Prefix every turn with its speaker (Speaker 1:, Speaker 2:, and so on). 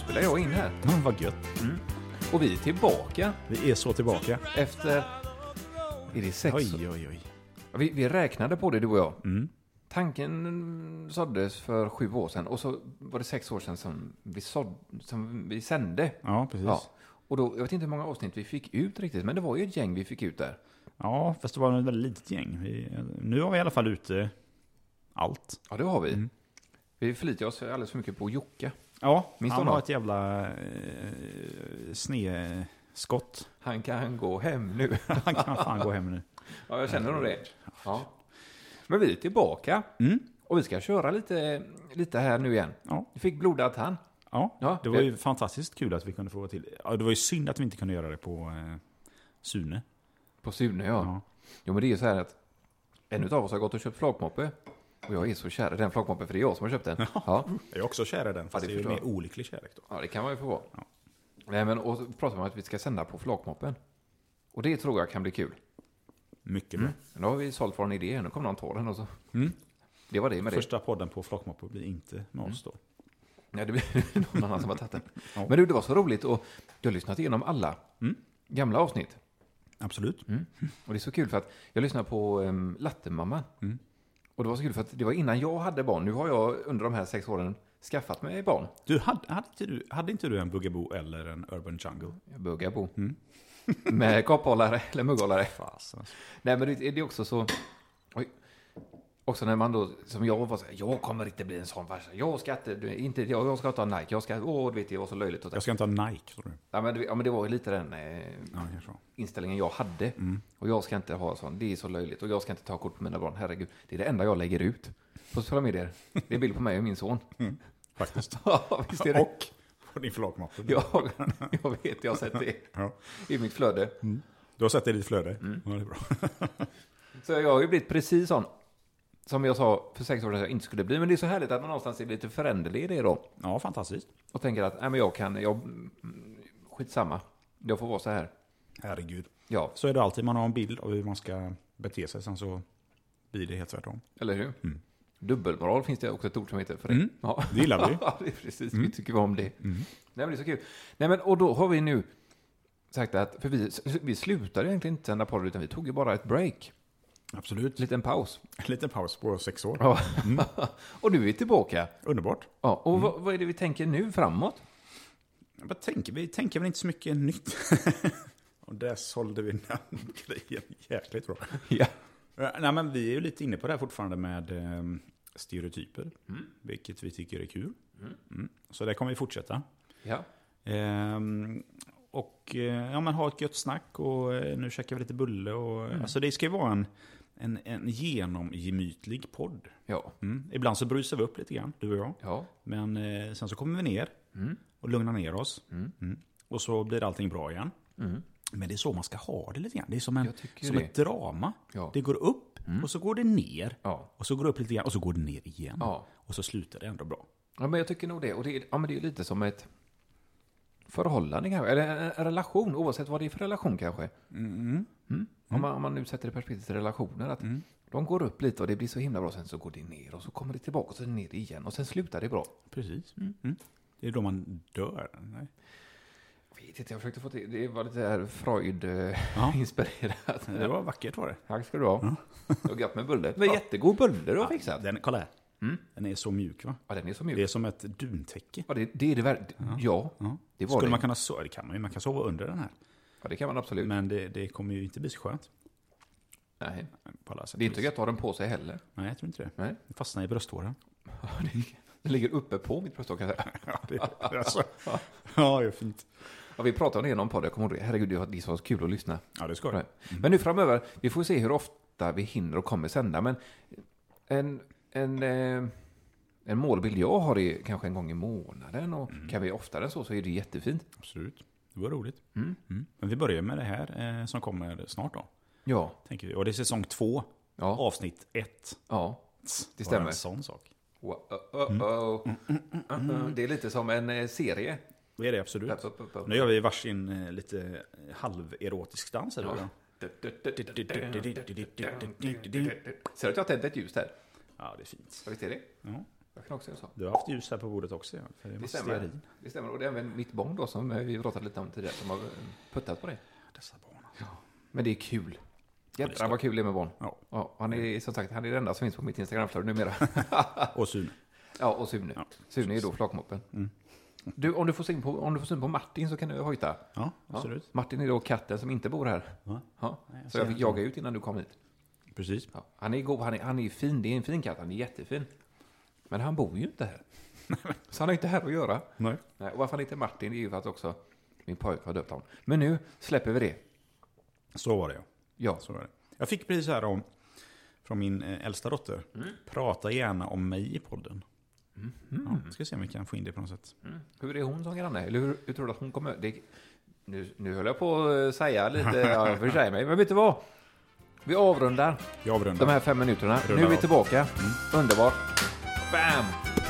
Speaker 1: spelar jag in här.
Speaker 2: Mm, Vad gött.
Speaker 1: Och vi är tillbaka
Speaker 2: Vi är så tillbaka.
Speaker 1: efter... Är det sex?
Speaker 2: Oj, Mm. oj, oj.
Speaker 1: Vi, vi räknade på det, du och jag. Tanken såddes för sju år sedan och så var det sex år sedan som vi, sådd, som vi sände.
Speaker 2: Ja, precis.
Speaker 1: Ja.
Speaker 2: Ja.
Speaker 1: Och då, jag vet inte hur många avsnitt vi fick ut riktigt, men det var ju ett gäng vi fick ut där.
Speaker 2: fast det var ett väldigt litet gäng. Vi, nu har vi i alla fall ute allt.
Speaker 1: Ja, det har vi.
Speaker 2: Mm.
Speaker 1: Vi förlitar oss alldeles för mycket på Jocke.
Speaker 2: Ja,
Speaker 1: Minns
Speaker 2: han
Speaker 1: du
Speaker 2: har
Speaker 1: något?
Speaker 2: ett jävla eh, snedskott.
Speaker 1: Han kan gå hem nu.
Speaker 2: Han kan fan gå hem nu.
Speaker 1: Ja, jag känner nog det. Ja. Men vi är tillbaka. Och vi ska köra lite, lite här nu igen.
Speaker 2: Ja.
Speaker 1: Vi fick blodad tand.
Speaker 2: Ja,
Speaker 1: Ja,
Speaker 2: det var
Speaker 1: det-
Speaker 2: ju fantastiskt kul att vi kunde få vara till. Ja, det var ju synd att vi inte kunde göra det på eh, Sune.
Speaker 1: På Sune, ja.
Speaker 2: Ja.
Speaker 1: Jo, men det är ju så här att en av oss har gått och köpt flakmoppe. Och jag är så kär i den flakmoppen, för det är jag som har köpt den. Ja,
Speaker 2: Jag är också kär i den,
Speaker 1: fast det är ju förstår jag.
Speaker 2: olycklig kärlek då.
Speaker 1: ja det kan man ju få vara. Nej, men och så pratar man om att vi ska sända på flakmoppen. Och det tror jag kan bli kul.
Speaker 2: Mycket bra.
Speaker 1: Men då har vi sålt vår idé, nu kommer någon ta den och så.
Speaker 2: Mm.
Speaker 1: Det var det med det. Mm.
Speaker 2: Första podden på Flockmoppe blir inte med oss då.
Speaker 1: Nej, det blir någon annan som har tagit den.
Speaker 2: Ja. Mm.
Speaker 1: Men du, det var så roligt och du har lyssnat igenom alla gamla avsnitt.
Speaker 2: Absolut.
Speaker 1: Och det är så kul för att jag lyssnade på um, Lattemamma. Och det var så kul för att det var innan jag hade barn. Nu har jag under de här sex åren skaffat mig barn.
Speaker 2: Du, hade, hade, inte du, hade inte du en Bugaboo eller en Urban Jungle?
Speaker 1: Jag buggar på. Med kopphållare eller mugghållare.
Speaker 2: Fasen. alltså.
Speaker 1: Nej, men det, det är också så... Oj. Också när man då, som jag var så här, jag kommer inte bli en sån farsa. Jag ska inte, du, inte jag, jag ska ta Nike, jag ska, åh, du vet, det var så löjligt. Och så.
Speaker 2: Jag ska inte ha Nike, tror du?
Speaker 1: Ja, men, det- ja, men det var ju lite den eh,
Speaker 2: Ja, kanske. så.
Speaker 1: inställningen jag hade. Och jag ska inte ha sån, det är så löjligt. Och jag ska inte ta kort på mina barn, herregud. Det är det enda jag lägger ut på sociala medier. Det är bild på mig och min son.
Speaker 2: Faktiskt.
Speaker 1: Ja, visst är det.
Speaker 2: Och på din Flockmoppe.
Speaker 1: Jag, jag vet, jag har sett det
Speaker 2: Ja.
Speaker 1: i mitt flöde.
Speaker 2: Du har sett det i ditt flöde? Ja, det är bra.
Speaker 1: Så jag har ju blivit precis sån som jag sa för sex år sedan att jag inte skulle bli. Men det är så härligt att man någonstans är lite föränderlig i det då.
Speaker 2: Ja, fantastiskt.
Speaker 1: Och tänker att, nej men jag kan, jag, mm, skitsamma. Jag får vara så här.
Speaker 2: Herregud.
Speaker 1: Ja,
Speaker 2: Så är det alltid. Man har en bild av hur man ska bete sig. Sen så blir det helt tvärtom.
Speaker 1: eller hur? Dubbelmoral finns det också ett ord som heter för det.
Speaker 2: Mm.
Speaker 1: Ja.
Speaker 2: Det gillar vi. Mm.
Speaker 1: Ja, det är precis. Vi Mm. tycker om det. Nej, men det är så kul. Nej, men, och då har vi nu sagt att, för vi, vi slutade egentligen inte sända podd, utan vi tog ju bara ett break.
Speaker 2: Absolut.
Speaker 1: En liten paus.
Speaker 2: En liten paus på sex år.
Speaker 1: Ja. och nu är vi tillbaka.
Speaker 2: Underbart.
Speaker 1: Ja, och vad, vad är det vi tänker nu framåt?
Speaker 2: Vad tänker vi? tänker väl inte så mycket nytt. Och där sålde vi den grejen jäkligt bra.
Speaker 1: Ja.
Speaker 2: Eh, Nej, men vi är ju lite inne på det här fortfarande med eh, stereotyper.
Speaker 1: Mm.
Speaker 2: Vilket vi tycker är kul. Mm. Så det kommer vi fortsätta.
Speaker 1: ja.
Speaker 2: Ehm, och eh, ja, men ha ett gött snack och eh, nu käkar vi lite bulle. Och,
Speaker 1: Mm.
Speaker 2: Alltså det ska ju vara en, en, en genomgemytlig podd.
Speaker 1: Ja.
Speaker 2: Mm. Ibland så brusar vi upp lite grann, du och jag.
Speaker 1: Ja.
Speaker 2: Men eh, sen så kommer vi ner
Speaker 1: Mm.
Speaker 2: och lugnar ner oss. Mm. Och så blir allting bra igen. Men det är så man ska ha det lite grann. Det är som, en,
Speaker 1: Mm. Jag tycker
Speaker 2: som
Speaker 1: det.
Speaker 2: ett drama.
Speaker 1: Ja. Mm.
Speaker 2: Det går upp och så går det ner.
Speaker 1: Ja.
Speaker 2: Och så går det upp lite grann och så går det ner igen.
Speaker 1: Ja.
Speaker 2: Och så slutar det ändå bra.
Speaker 1: ja, men jag tycker nog det. Och det är, ja, men det är lite som ett förhållande kanske, eller en en relation, oavsett vad det är för relation kanske. Mm. Om, man, om man nu sätter det i perspektivet till relationer, att de går upp lite och det blir så himla bra, sen så går det ner och så kommer det tillbaka och så är det ner igen och sen slutar det bra.
Speaker 2: Precis. Mm. Det är då man dör. Nej.
Speaker 1: Jag vet inte, jag försökte få till, det var lite här
Speaker 2: Ja.
Speaker 1: Freud-inspirerat.
Speaker 2: Det var vackert var det.
Speaker 1: Tack ska du ha. Det var gött med bulle. Det var jättegod bulle du har fixat.
Speaker 2: Den, kolla här. Den är så mjuk va?
Speaker 1: Ja, den är så
Speaker 2: Det är
Speaker 1: mjuk.
Speaker 2: som ett duntäcke.
Speaker 1: Ja, det, det är det verkligen. Ja, det var
Speaker 2: Skulle
Speaker 1: det.
Speaker 2: man kunna sova? Det kan man ju. Man kan sova under den här.
Speaker 1: Ja, det kan man absolut.
Speaker 2: Men det, det kommer ju inte bli så skönt.
Speaker 1: Nej.
Speaker 2: På alla sätt
Speaker 1: Det är
Speaker 2: och
Speaker 1: inte
Speaker 2: vis.
Speaker 1: gött att ha den på sig heller.
Speaker 2: Nej, jag tror inte det.
Speaker 1: Nej.
Speaker 2: Det fastnar i brösthåren.
Speaker 1: Den ligger uppe på mitt brösthår kan jag säga.
Speaker 2: Ja, det, alltså. ja, det är fint.
Speaker 1: Ja, vi pratade om det i någon podd, jag kommer ihåg det. Herregud, det var- det är så kul att lyssna.
Speaker 2: Ja, det ska
Speaker 1: Nej.
Speaker 2: det.
Speaker 1: Men nu framöver, vi får se hur ofta vi hinner och kommer sända. Men en, en, eh, en målbild jag har är kanske en gång i månaden. Och Kan vi oftare än så så är det jättefint.
Speaker 2: Absolut. Det var roligt. Mm. Men vi börjar med det här eh, som kommer snart då.
Speaker 1: Ja,
Speaker 2: Tänker vi. Och det är säsong två,
Speaker 1: Ja.
Speaker 2: avsnitt ett.
Speaker 1: ja. Det
Speaker 2: Bara
Speaker 1: stämmer.
Speaker 2: en sån sak.
Speaker 1: Wow, oh, oh, oh. Uh-uh. Det är lite som en eh, serie.
Speaker 2: Det är det absolut.
Speaker 1: Upp, upp, upp, upp.
Speaker 2: Nu gör vi varsin eh, lite halverotisk dans. Eller? hur?
Speaker 1: Ser du att jag tände ett ljus där?
Speaker 2: Ja, det är fint.
Speaker 1: Ja, Visst är det?
Speaker 2: Ja.
Speaker 1: Jag kan också göra så.
Speaker 2: Du har haft ljus här på bordet också. Ja, för det är
Speaker 1: Det
Speaker 2: massa stearin.
Speaker 1: stämmer. Det stämmer. Och det är även mitt barn då som eh, vi pratade lite om tidigare som har eh, puttat på det.
Speaker 2: Dessa barn.
Speaker 1: Men det är kul. Jävlar vad kul det är med barn.
Speaker 2: Ja.
Speaker 1: Ja, han är som sagt han är den enda som finns på mitt Instagramflöde numera.
Speaker 2: Och Sune.
Speaker 1: Ja, och Sune.
Speaker 2: Ja. Mm.
Speaker 1: Sune är då flakmoppen. Du, om du, får syn på, om du får syn på Martin så kan du hojta.
Speaker 2: Ja,
Speaker 1: Ja.
Speaker 2: absolut.
Speaker 1: Martin är då katten som inte bor här.
Speaker 2: Ja.
Speaker 1: Ja.
Speaker 2: Nej,
Speaker 1: Så
Speaker 2: jag ser
Speaker 1: jag fick
Speaker 2: inte.
Speaker 1: jaga ut innan du kom hit.
Speaker 2: Precis.
Speaker 1: Ja. Han är god, han är, han är fin. Det är en fin katt, han är jättefin. Men han bor ju inte här. så han är inte här att göra.
Speaker 2: Nej.
Speaker 1: Nej, och varför han inte är Martin det är ju för att också min pojk har döpt honom. Men nu släpper vi det.
Speaker 2: Så var det ja.
Speaker 1: Ja,
Speaker 2: Så var det. Jag fick precis här om, från min eh, äldsta dotter.
Speaker 1: Mm.
Speaker 2: Prata gärna om mig i podden.
Speaker 1: Mhm.
Speaker 2: Ja, ska se om vi kan få in det på något sätt.
Speaker 1: hur är hon som granne? Eller hur, hur tror du att hon kommer... Det, nu, nu höll jag på att säga lite, ja, jag försäger mig. Men vet du vad? Vi avrundar
Speaker 2: Jag avrundar.
Speaker 1: de här fem minuterna. Nu
Speaker 2: Rullar
Speaker 1: är vi
Speaker 2: av.
Speaker 1: tillbaka. Underbart. Bam!